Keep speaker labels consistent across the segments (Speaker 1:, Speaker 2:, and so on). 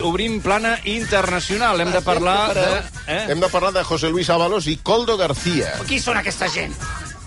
Speaker 1: Obrim plana internacional. Hem de
Speaker 2: Ah,
Speaker 1: parlar de... Eh?
Speaker 2: Hem de parlar de José Luis Ábalos i Coldo García.
Speaker 3: Qui són aquesta gent?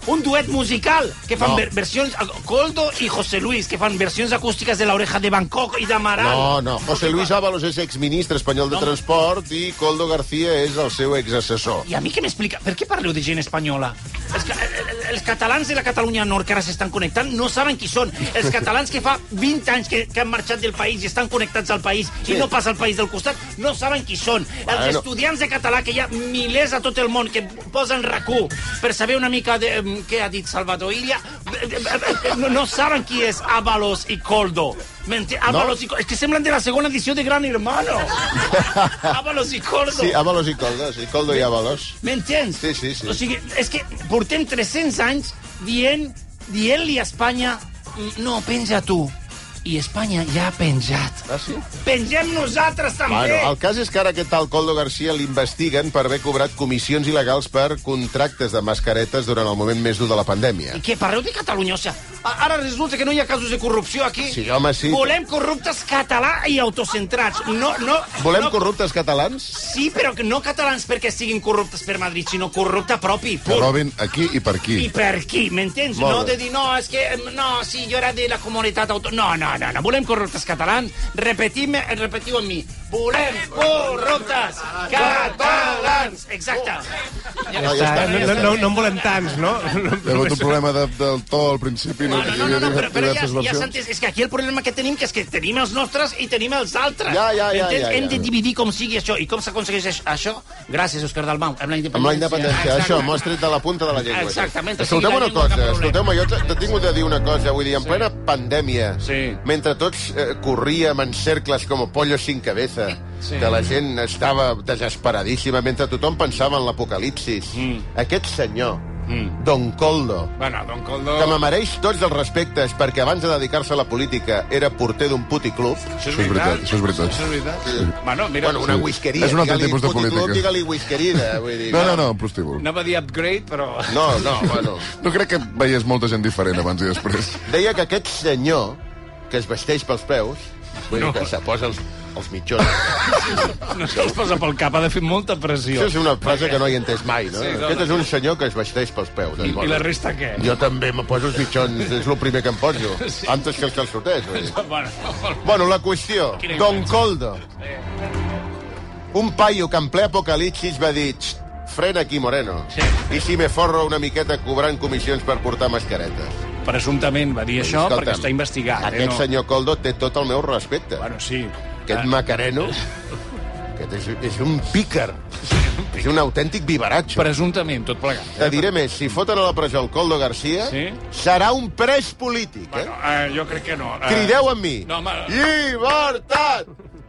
Speaker 3: Un duet musical que fan
Speaker 2: No.
Speaker 3: ver versions... Coldo i José Luis, que fan versions acústiques de l'oreja de Bangkok i d'Amaral.
Speaker 2: No, no. José Luis Ábalos és exministre espanyol de transport i Coldo García és el seu exassessor.
Speaker 3: I a mi què m'explica? Per què parleu de gent espanyola? Els, ca- el- el- els catalans de la Catalunya Nord que ara s'estan connectant no saben qui són. Els catalans que fa 20 anys que, que han marxat del país i estan connectats al país
Speaker 2: Sí.
Speaker 3: i no pas al país del costat no saben qui són.
Speaker 2: Bueno.
Speaker 3: Els estudiants de català que hi ha milers a tot el món que posen rac1 per saber una mica de em, què ha dit Salvador Illa eh, no, no saben qui és Avalos i Coldo. M'ente- Avalos i Coldo. És que semblen de la segona edició de Gran Hermano. Avalos i Coldo.
Speaker 2: Sí, Ábalos i Coldo, sí, Coldo i Ábalos.
Speaker 3: M'entens?
Speaker 2: Sí, sí, sí.
Speaker 3: O sigui, és que portem 300 anys dient, dient-li a Espanya "Mm, no, penja tu. I Espanya ja ha penjat.
Speaker 2: Ah, sí?
Speaker 3: Pengem nosaltres també!
Speaker 2: Bueno, el cas és que ara aquest tal Coldo García l'investiguen per haver cobrat comissions il·legals per contractes de mascaretes durant el moment més dur de la pandèmia.
Speaker 3: I què, parleu de Catalunya? O sigui, a- ara resulta que no hi ha casos de corrupció aquí.
Speaker 2: Sí, home, sí.
Speaker 3: Volem corruptes català i autocentrats. No, no,
Speaker 2: Volem
Speaker 3: no,
Speaker 2: corruptes catalans?
Speaker 3: Sí, però que no catalans perquè siguin corruptes per Madrid, sinó corrupte propi.
Speaker 4: Que
Speaker 3: Punt.
Speaker 4: robin aquí i per
Speaker 3: I
Speaker 4: aquí.
Speaker 3: per qui, m'entens?
Speaker 2: Molt
Speaker 3: No
Speaker 2: bé.
Speaker 3: de dir, no, és que, em, no, sí, jo era de la comunitat auto... No, no, no, no, volem corruptes catalans. Repetim, eh, repetiu amb mi. Volem corruptes catalans. Exacte.
Speaker 2: Oh. No, ja està.
Speaker 5: No, no, no, no en volem tants, no?
Speaker 4: Hi ha hagut un problema de, del to al principi, no?
Speaker 3: No, no, no, no, però, però ja,
Speaker 4: diverses
Speaker 3: ja s'ha
Speaker 4: versions.
Speaker 3: entès. És que aquí el problema que tenim que és que tenim els nostres i tenim els altres.
Speaker 2: Ja, ja, ja,
Speaker 3: Entens?
Speaker 2: ja, ja.
Speaker 3: Hem de dividir com sigui això. I com s'aconsegueix aix- això? Gràcies, Òscar Dalmau. Amb la independència.
Speaker 2: Amb la independència,
Speaker 3: Exacte.
Speaker 2: això, m'ho has tret de la punta de la llengua.
Speaker 3: Exactament, o sigui,
Speaker 2: Escolteu
Speaker 3: la
Speaker 2: una
Speaker 3: llengua
Speaker 2: cosa,
Speaker 3: cap problema.
Speaker 2: escolteu-me, jo t'he tingut de dir una cosa, vull dir, en plena pandèmia,
Speaker 1: Sí.
Speaker 2: mentre tots eh, corríem en cercles com pollo sin cabeza, que la gent estava desesperadíssima, mentre tothom pensava en l'apocalipsis,
Speaker 3: Mm.
Speaker 2: aquest senyor, Don Coldo,
Speaker 1: Bueno, Don Coldo...
Speaker 2: que m'amereix tots els respectes perquè abans de dedicar-se a la política era porter d'un puticlub,
Speaker 1: Això
Speaker 4: Això és veritat, això és veritat.
Speaker 1: Això és veritat. Bueno, mira,
Speaker 2: bueno, una whiskeria,
Speaker 4: És un altre
Speaker 2: digue-li
Speaker 4: tipus de
Speaker 2: puticlub,
Speaker 4: política.
Speaker 2: digue-li whiskerida, vull dir...
Speaker 4: No, no, no, un prostíbul.
Speaker 1: anava a dir upgrade, però...
Speaker 2: No, no, bueno...
Speaker 4: No crec que veies molta gent diferent abans i després.
Speaker 2: Deia que aquest senyor, que es vesteix pels peus, vull dir que se posa els, els mitjons.
Speaker 1: No se'ls posa pel cap, ha de fer molta pressió.
Speaker 2: Això és una frase que no hi he entès mai, no?
Speaker 1: Sí, no,
Speaker 2: aquest
Speaker 1: no.
Speaker 2: és un senyor que es vesteix pels peus.
Speaker 1: I,
Speaker 2: és
Speaker 1: I la
Speaker 2: bona.
Speaker 1: resta què?
Speaker 2: Jo també me poso els mitjons, és el primer que em poso. Antes que els calçoters, vull dir.
Speaker 1: Bueno, molt bé.
Speaker 2: Bueno, la qüestió.
Speaker 1: Quina
Speaker 2: Don Coldo. Un paio que en ple apocalipsis va dir... "Txt, Frena aquí, Moreno.
Speaker 1: Sí.
Speaker 2: I si me forro una miqueta cobrant comissions per portar mascaretes.
Speaker 1: presumptament va dir això
Speaker 2: Escolta'm,
Speaker 1: perquè està investigat.
Speaker 2: Aquest
Speaker 1: eh, no?
Speaker 2: senyor Coldo té tot el meu respecte.
Speaker 1: Bueno, ah. sí.
Speaker 2: Aquest Macareno, aquest és, és un pícar. És un autèntic vivaratxo.
Speaker 1: Presumptament, tot plegat.
Speaker 2: Te diré més, si foten a la presó el Coldo Garcia,
Speaker 1: Sí?
Speaker 2: serà un pres polític, eh?
Speaker 1: Bueno, eh, jo crec que no. Eh,
Speaker 2: Ah. Crideu amb mi.
Speaker 1: No, home.
Speaker 2: Llibertat!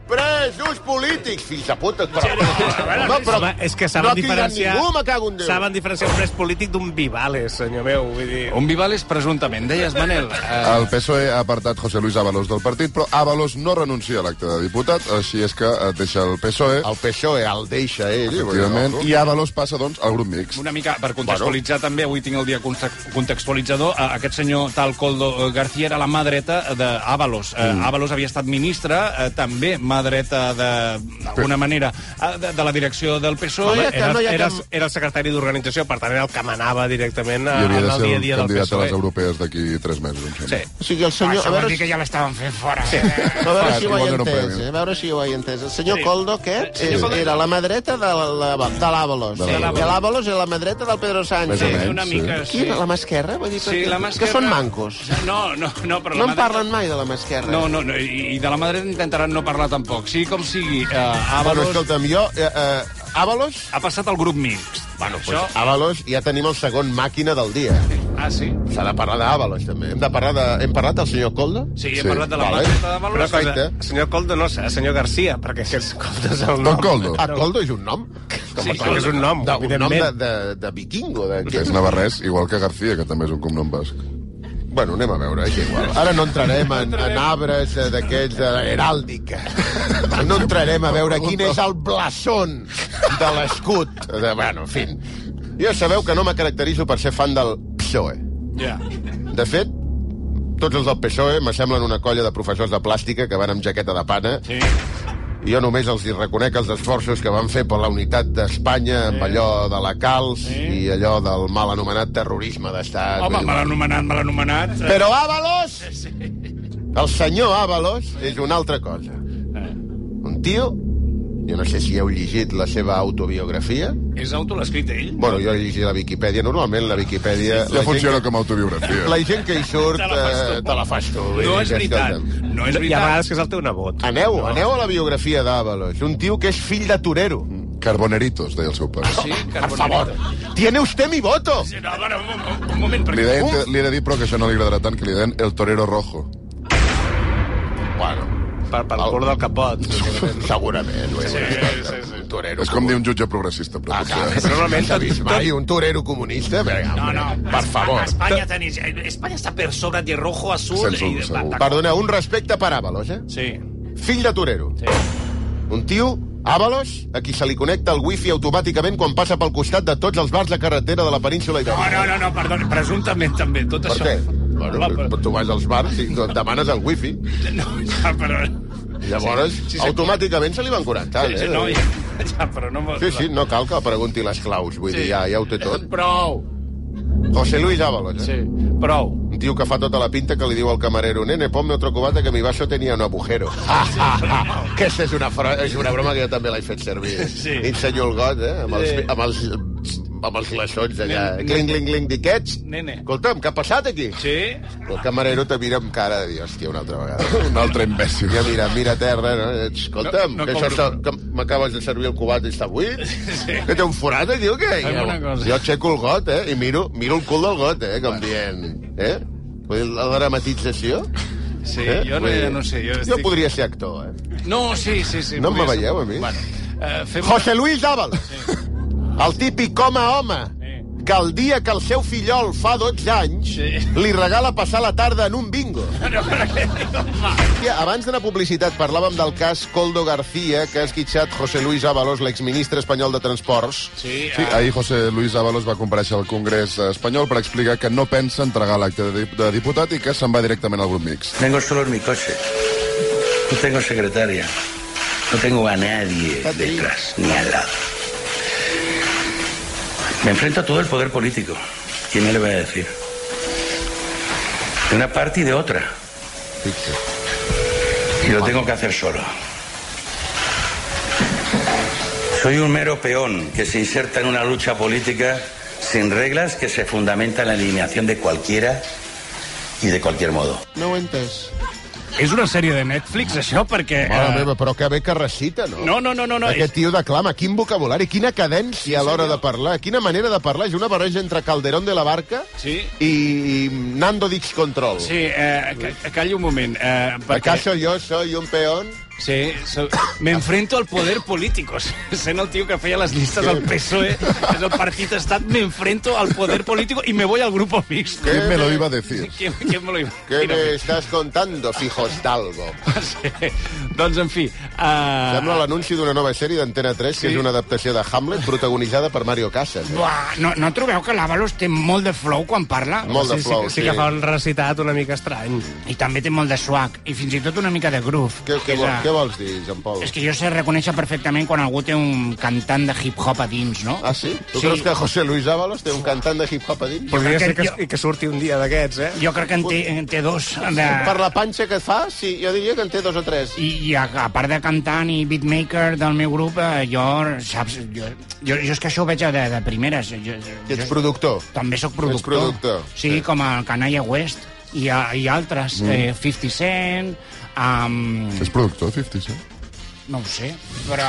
Speaker 2: Presos polítics! Fills de puta, però...
Speaker 1: no, a veure,
Speaker 2: Home, però
Speaker 5: Home, és que saben
Speaker 2: no tiren
Speaker 5: diferenciar...
Speaker 2: ningú, me cago en Déu.
Speaker 5: Saben diferenciar un pres polític d'un vivales, senyor meu. Vull dir...
Speaker 1: Un Vivales presumptament. Deies, Manel...
Speaker 2: Ah,
Speaker 1: Eh,
Speaker 4: El PSOE E ha apartat José Luis Ábalos del partit, però Ábalos no renuncia a l'acte de diputat, així és que eh, deixa el PSOE,
Speaker 2: El PSOE E el deixa eh? ell,
Speaker 4: efectivament, i Ábalos passa, doncs, al grup mixt.
Speaker 1: una mica, per contextualitzar bueno. també, avui tinc el dia context- contextualitzador, eh, aquest senyor tal Coldo García era la mà dreta d'Avalos. Mm. Avalos havia estat ministre, eh, també mà dreta de- d'alguna manera eh, de, de la direcció del PSOE.
Speaker 5: Home,
Speaker 2: que
Speaker 5: era,
Speaker 2: no hi ha
Speaker 5: era,
Speaker 2: cap-
Speaker 5: era el secretari d'organització, per tant, era el que manava directament a,
Speaker 4: I havia de
Speaker 5: al
Speaker 4: ser
Speaker 5: dia a
Speaker 4: el
Speaker 5: dia del
Speaker 4: candidat a
Speaker 5: PSOE.
Speaker 4: les europees d'aquí tres mesos, em sembla.
Speaker 1: Sí.
Speaker 2: O sigui, el
Speaker 1: Ah,
Speaker 2: senyor...
Speaker 3: Això
Speaker 2: a
Speaker 3: vol
Speaker 2: veure,
Speaker 3: dir que ja l'estaven fent fora. Sí.
Speaker 2: A veure si ho
Speaker 4: Clar,
Speaker 2: he
Speaker 4: igual que no
Speaker 2: entès,
Speaker 4: prèvia.
Speaker 2: eh? a veure si ho he entès. El senyor
Speaker 3: Sí.
Speaker 2: Coldo, aquest,
Speaker 3: senyor
Speaker 2: és-
Speaker 3: Coldo-
Speaker 2: era la mà dreta de la- de l'Àbalos.
Speaker 4: De
Speaker 2: Sí.
Speaker 4: l'Àbalos.
Speaker 2: I l'Àbalos era la mà dreta del Pedro Sánchez.
Speaker 4: Més o menys,
Speaker 1: una
Speaker 4: sí.
Speaker 1: mica,
Speaker 2: Qui, la mà esquerra? Vull dir,
Speaker 1: Sí, la mà
Speaker 2: Que
Speaker 1: esquerra-
Speaker 2: són mancos.
Speaker 1: No, no, no, però la
Speaker 2: No
Speaker 1: mà
Speaker 2: en
Speaker 1: dreta-
Speaker 2: parlen mai de la mà esquerra.
Speaker 1: No, no, no, i, i de la mà dreta intentaran no parlar tampoc. Sí, com sigui, eh,
Speaker 2: Bueno,
Speaker 1: Avalos
Speaker 2: escolta'm, jo... Eh, eh, Àbalos?
Speaker 1: ha passat al grup mixt. Bueno,
Speaker 2: Pues, Àbalos, ja tenim el segon màquina del dia.
Speaker 1: Ah, sí?
Speaker 2: S'ha de parlar d'Àbalos, també. Hem de parlar de... Hem parlat del senyor Coldo?
Speaker 1: Sí, he
Speaker 4: Sí.
Speaker 1: parlat de la
Speaker 2: Vale.
Speaker 1: vale. planta de
Speaker 5: Però,
Speaker 1: valors.
Speaker 2: Però-
Speaker 5: cosa,
Speaker 2: Perfecte.
Speaker 5: senyor Coldo, no, senyor Garcia, perquè si els Coldo és el nom...
Speaker 4: Don Coldo.
Speaker 2: Ah, Coldo és un nom?
Speaker 1: Sí,
Speaker 2: Com a
Speaker 1: clar
Speaker 2: Coldo.
Speaker 1: que és
Speaker 5: un nom,
Speaker 2: De, un nom de,
Speaker 5: evidentment.
Speaker 2: de, de vikingo. De...
Speaker 4: Que és navarrès, igual que García, que també és un cognom basc.
Speaker 2: Bueno, anem a veure, és igual. Ara no entrarem en, en arbres eh, d'aquells de heràldica. No entrarem a veure quin és el blasón de l'escut. De, bueno, en fin. Jo sabeu que no me caracterizo per ser fan del PSOE.
Speaker 1: Ja.
Speaker 2: De fet, E tots els del PSOE me semblen una colla de professors de plàstica que van amb jaqueta de pana
Speaker 1: Sí.
Speaker 2: Jo només els hi reconec els esforços que van fer per la unitat d'Espanya amb allò de la calç i allò del mal anomenat terrorisme d'estat.
Speaker 1: Home, mal anomenat, mal anomenat. Eh,
Speaker 2: Però Ábalos, el senyor Ábalos, és una altra cosa.
Speaker 1: Eh.
Speaker 2: Un tio, jo no sé si heu llegit la seva autobiografia.
Speaker 1: És auto l'ha escrit ell?
Speaker 2: Bueno, jo he llegit la Viquipèdia. Normalment la Viquipèdia...
Speaker 4: Ja
Speaker 2: la
Speaker 4: funciona
Speaker 2: Gent,
Speaker 4: com a autobiografia.
Speaker 2: la gent que hi surt
Speaker 1: Te la fas tu.
Speaker 2: eh, te la fas tu. Vull
Speaker 1: No
Speaker 2: dir
Speaker 1: és
Speaker 2: que,
Speaker 1: veritat.
Speaker 2: escolta'm,
Speaker 1: No és
Speaker 5: Hi ha
Speaker 1: veritat.
Speaker 5: vegades que és el teu nebot.
Speaker 2: Aneu, aneu a la biografia d'Ábalos. Un tio que és fill de torero.
Speaker 4: Mm. Carboneritos, deia el seu pare.
Speaker 1: Sí, per favor.
Speaker 2: Tiene usted mi voto.
Speaker 1: No, a veure, un, un, un moment,
Speaker 4: Li,
Speaker 1: perquè...
Speaker 4: deien, li he de dir, però, que això no li agradarà tant, que li deien el torero rojo.
Speaker 2: Bueno,
Speaker 5: Per, per el cul del capot.
Speaker 2: segurament. Sí,
Speaker 1: sí, sí.
Speaker 2: Un torero.
Speaker 4: És com dir un jutge progressista, però
Speaker 2: Ah, clar,
Speaker 4: potser...
Speaker 2: normalment tot, mai un torero comunista, venga,
Speaker 3: No, no.
Speaker 2: per favor.
Speaker 3: Espanya, tenis, Espanya està per sobre de rojo, azul...
Speaker 4: Sense
Speaker 3: i de-
Speaker 4: segur.
Speaker 3: va- va-
Speaker 2: Perdoneu, un respecte per Ábalos, eh?
Speaker 1: Sí.
Speaker 2: Fill de torero. Sí. Un tio, Ábalos, a qui se li connecta el wifi automàticament quan passa pel costat de tots els bars de carretera de la península
Speaker 1: No,
Speaker 2: Ibèrica.
Speaker 1: no, no, no, perdona, presumptament també, tot
Speaker 2: Per
Speaker 1: això...
Speaker 2: què?
Speaker 1: Home,
Speaker 2: Bueno,
Speaker 1: però-
Speaker 2: tu vas als bars i et demanes el wifi.
Speaker 1: No, ja, però...
Speaker 2: Llavors, sí, sí,
Speaker 1: sí,
Speaker 2: sí,
Speaker 1: sí.
Speaker 2: automàticament se li van 40, eh?
Speaker 1: Ja, no, ja, ja, però no...
Speaker 2: Sí, sí, no cal que pregunti les claus, vull sí. dir, ja, ja ho té tot.
Speaker 1: Prou.
Speaker 2: José Luis Ábalos, eh?
Speaker 1: Sí, prou.
Speaker 2: Un tio que fa tota la pinta que li diu al camarero «Nene, ponme otro cubata que mi vaso tenía un agujero». Aquesta és una, fra... és una broma que jo també l'he fet servir.
Speaker 1: Sí.
Speaker 2: I ensenyo el got, eh? Amb els, amb els, amb els glaçons allà. Cling, cling, cling, diquets.
Speaker 1: Nene.
Speaker 2: Escolta'm, què ha passat aquí?
Speaker 1: Sí?
Speaker 2: El camarero te mira amb cara de dir «Hòstia, una altra vegada».
Speaker 4: Un altre imbècil.
Speaker 2: Ja mira, mira a terra, no? escolta'm,
Speaker 1: No, no
Speaker 2: que, això
Speaker 1: compro.
Speaker 2: està, que m'acabes de servir el cubat i està buit, sí. que té un forat aquí o què?
Speaker 1: Alguna
Speaker 2: Jo,
Speaker 1: cosa.
Speaker 2: jo aixeco el got, eh, i miro, miro el cul del got, eh, com dient, eh? Vull dir, la dramatització.
Speaker 1: Sí,
Speaker 2: eh?
Speaker 1: jo no,
Speaker 2: Vull dir,
Speaker 1: ja no sé, jo
Speaker 2: jo
Speaker 1: estic...
Speaker 2: podria ser actor, eh?
Speaker 1: No, sí, sí, sí.
Speaker 2: No me
Speaker 1: podria ser-
Speaker 2: veieu, a mi?
Speaker 1: Bueno, eh, fem...
Speaker 2: José Luis Ábalos, el típic home home,
Speaker 1: Sí.
Speaker 2: que el dia que el seu fillol fa 12 anys
Speaker 1: Sí.
Speaker 2: li regala passar la tarda en un bingo.
Speaker 1: No, però què diu, home?
Speaker 2: Hòstia, abans de la publicitat parlàvem del cas Coldo García, que ha esquitxat José Luis Ábalos, l'exministre espanyol de Transports.
Speaker 1: Sí, ah.
Speaker 4: Sí, ahir José Luis Ábalos va compareixer al Congrés espanyol per explicar que no pensa entregar l'acte de, dip- de diputat i que se'n va directament al grup mixt.
Speaker 6: Vengo solo en mi coche. No tengo secretaria. No tengo a nadie detrás ni al lado. Me enfrento a todo el poder político. ¿Quién me le va a decir? De una parte y de otra. Y lo tengo que hacer solo. Soy un mero peón que se inserta en una lucha política sin reglas que se fundamenta en la eliminación de cualquiera y de cualquier modo.
Speaker 2: No ho he entès.
Speaker 1: És una sèrie de Netflix, això, perquè... eh,
Speaker 2: Mare meva, però que bé que recita, no?
Speaker 1: Ah. No, no, no, no, no.
Speaker 2: Aquest tio declama, quin vocabulari, quina cadència a l'hora de parlar, quina manera de parlar. És una barreja entre Calderón de la Barca
Speaker 1: Sí.
Speaker 2: i i Nando Dix Control.
Speaker 1: Sí, eh, ca- calli un moment. Eh, perquè...
Speaker 2: ¿Acaso yo soy un peón?
Speaker 1: Sí, so... me enfrento al poder político. Sent el tio que feia les llistes al PSOE, que és E, el partit estat, me enfrento al poder político i me voy al grupo mixto.
Speaker 4: Què me lo iba a decir?
Speaker 1: ¿Quién, quién me lo iba
Speaker 2: ¿Qué
Speaker 1: Mira,
Speaker 2: me estás contando, fijos d'algo?
Speaker 1: sí. Doncs, en fi...
Speaker 2: Sembla
Speaker 1: Uh...
Speaker 2: l'anunci d'una nova sèrie d'Antena 3,
Speaker 1: Sí.
Speaker 2: que és una adaptació de Hamlet protagonitzada per Mario Casas. Eh?
Speaker 1: No, no trobeu que l'Avalos té molt de flow quan parla?
Speaker 2: Molt de flow,
Speaker 5: sí, sí, que fa un recitat una mica estrany.
Speaker 1: I també té molt de swag, i fins i tot una mica de groove.
Speaker 2: Què, què, vol, què vols dir, Jean Paul?
Speaker 1: És que jo sé reconèixer perfectament quan algú té un cantant de hip-hop a dins, no?
Speaker 2: Ah, sí? Tu creus que José Luis Ábalos té un cantant de hip-hop a dins?
Speaker 5: Podria
Speaker 1: crec
Speaker 5: ser
Speaker 1: que
Speaker 5: que, que, que surti un dia d'aquests, eh?
Speaker 1: Jo crec que en té, en té dos. De...
Speaker 2: Per la panxa que fa, sí, jo diria que en té dos o tres.
Speaker 1: I, I a, a part de cantant i beatmaker del meu grup, eh, jo, saps, jo, jo, jo és que això ho veig de, de primeres. Jo,
Speaker 2: Que ets
Speaker 1: jo,
Speaker 2: productor.
Speaker 1: també sóc productor.
Speaker 2: productor.
Speaker 1: Sí, sí, com el Canalla West i, a, i altres. Mm. Eh, 50 Cent, um,
Speaker 4: És productor, 50 Cent?
Speaker 1: no ho sé, però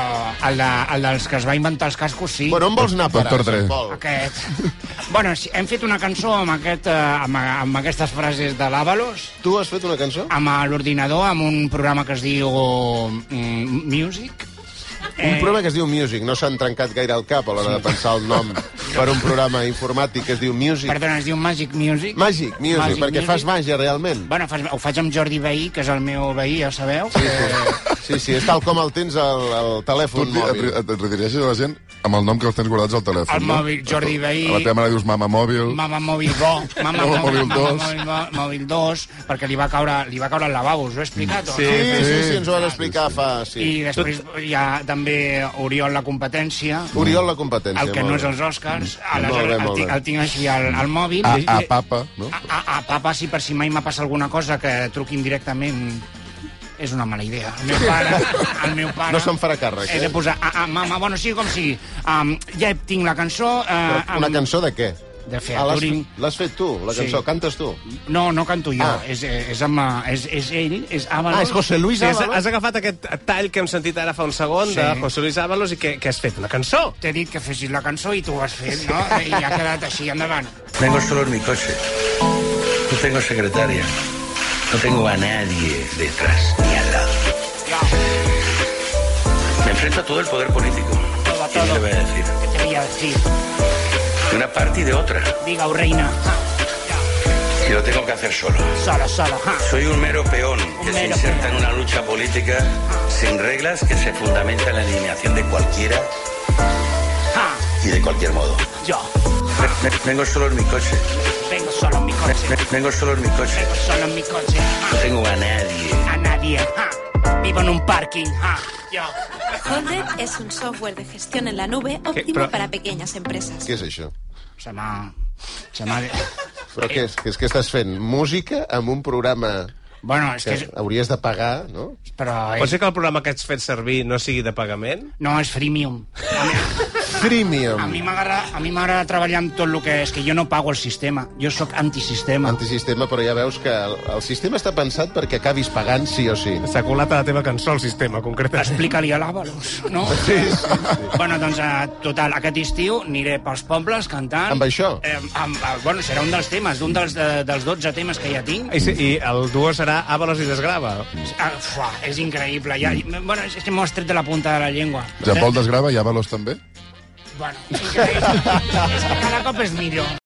Speaker 1: el, de, el dels que es va inventar els cascos, sí.
Speaker 2: Bueno, on vols anar a parar?
Speaker 4: Doctor Dre.
Speaker 2: si vol?
Speaker 1: Aquest. bueno, sí, hem fet una cançó amb, aquest, eh, amb, amb aquestes frases de l'Avalos,
Speaker 2: Tu has fet una cançó?
Speaker 1: amb l'ordinador, amb un programa que es diu mm, Music.
Speaker 3: Eh,
Speaker 2: Un programa que es diu Music. No s'han trencat gaire el cap a l'hora de pensar el nom per un programa informàtic que es diu Music.
Speaker 3: Perdona, es diu Magic Music?
Speaker 2: Màgic, Music,
Speaker 3: Magic
Speaker 2: perquè
Speaker 3: Music.
Speaker 2: fas màgia, realment.
Speaker 3: Bueno, fas, ho faig amb Jordi Veí, que és el meu veí, ja ho sabeu. Eh, Sí,
Speaker 2: Sí, sí, és tal com el tens al, al
Speaker 4: Tu
Speaker 2: telèfon
Speaker 4: et, et,
Speaker 2: mòbil.
Speaker 4: et, et redirigeixes a la gent amb el nom que els tens guardats al telèfon.
Speaker 3: Al mòbil, Jordi Veí.
Speaker 4: A la teva mare dius mama mòbil.
Speaker 3: Mama Mòbil Bo. Mama,
Speaker 4: Mama Mòbil
Speaker 3: Mama
Speaker 4: dos.
Speaker 3: Mòbil, Bo- mòbil 2, perquè li va caure, li va caure al lavabo, us ho he explicat? o no?
Speaker 2: Sí, sí, sí,
Speaker 4: sí.
Speaker 2: sí, ens ho van explicar fa... Sí.
Speaker 3: I després hi ha també Oriol la competència,
Speaker 2: Oriol, la competència.
Speaker 3: el que no
Speaker 2: molt bé.
Speaker 3: és els Oscars,
Speaker 2: Molt
Speaker 3: aleshores
Speaker 2: bé,
Speaker 3: el,
Speaker 2: molt
Speaker 3: tinc-
Speaker 2: bé. Ah.
Speaker 3: el tinc així al, al mòbil.
Speaker 4: A,
Speaker 3: I-
Speaker 4: a papa, no?
Speaker 3: a, a, a papa, si per si mai m'ha passat alguna cosa que truquin directament és una mala idea. El meu pare... El meu pare
Speaker 2: No se'n farà càrrec,
Speaker 3: He
Speaker 2: eh?
Speaker 3: de posar... Ah, ah, mama, bueno, sigui com sigui. Um, ja tinc la cançó... Uh,
Speaker 2: Però Una cançó de què?
Speaker 3: De fer
Speaker 2: Ah, l'has-
Speaker 3: Turing.
Speaker 2: L'has fet tu, la
Speaker 3: Sí.
Speaker 2: cançó. Cantes tu.
Speaker 3: No, no canto jo.
Speaker 2: Ah.
Speaker 3: Ah. És, eh, és, amb, eh, és, és ell, és Avalos.
Speaker 2: Ah, és José Luis
Speaker 5: Sí, has,
Speaker 2: Ábalos.
Speaker 5: has agafat aquest tall que hem sentit ara fa un segon sí. de
Speaker 3: Sí.
Speaker 5: José Luis Ábalos i que, que has fet una cançó.
Speaker 3: T'he dit que fessis la cançó i tu ho has fet, no? I ha quedat així, endavant.
Speaker 6: Vengo solo en mi coche. No tengo secretaria. No tengo a nadie detrás ni al lado.
Speaker 3: Ja,
Speaker 6: Me enfrento a todo el poder político.
Speaker 3: Todo,
Speaker 6: ¿Qué
Speaker 3: todo.
Speaker 6: le voy a decir?
Speaker 3: què t'havia de dir?
Speaker 6: De una parte y de otra.
Speaker 3: Digue-ho, reina. Ah,
Speaker 6: Y lo tengo que hacer solo.
Speaker 3: Sola, sola. Ah.
Speaker 6: Soy un mero peón que se
Speaker 3: mero
Speaker 6: inserta
Speaker 3: peón.
Speaker 6: en una lucha política sin reglas que se fundamenta en la eliminación de cualquiera
Speaker 3: Ah.
Speaker 6: y de cualquier modo.
Speaker 3: Jo.
Speaker 6: Ve- ve- Vengo solo en mi coche.
Speaker 3: Vengo solo en mi coche.
Speaker 6: Ve- Vengo solo en mi coche.
Speaker 3: Vengo solo en mi coche. Ah.
Speaker 6: No tengo a nadie.
Speaker 3: a nadie. Ja. Vivo en un parking. Ja. Yo.
Speaker 7: Honred es un software de gestión en la nube óptimo para pequeñas empresas.
Speaker 2: Què és això?
Speaker 3: Se m'ha... Se m'ha... de-
Speaker 2: Però
Speaker 3: Eh.
Speaker 2: què és? Que és que estàs fent música amb un programa
Speaker 3: Bueno, és que...
Speaker 2: que
Speaker 3: És,
Speaker 2: hauries de pagar, no?
Speaker 3: però
Speaker 5: Pot
Speaker 3: és,
Speaker 5: ser que el programa que has fet servir no sigui de pagament?
Speaker 3: no, és freemium. A mi- A
Speaker 2: Freemium.
Speaker 3: mi m'agrada a mi m'agrada treballar amb tot el que és, que jo no pago el sistema. Jo sóc antisistema.
Speaker 2: Antisistema, però ja veus que el, el sistema està pensat perquè acabis pagant sí o sí.
Speaker 5: S'ha colat a la teva cançó, el sistema, concretament.
Speaker 3: Explica-li a l'Àbalos, no? Sí, sí, Bueno, doncs, eh, total, aquest estiu aniré pels pobles cantant.
Speaker 2: Amb això?
Speaker 3: Eh, amb, eh, bueno, serà un dels temes, d'un dels, de, dels 12 temes que ja tinc.
Speaker 5: I, si- Ah, I el duo serà Ábalos i Desgrava.
Speaker 3: Ah, Fua, és increïble. Ja, bueno, és que m'ho has tret de la punta de la llengua. Eh?
Speaker 4: Jean Paul desgrava i Avalos també?
Speaker 3: Bueno, increïble. és que cada cop és millor.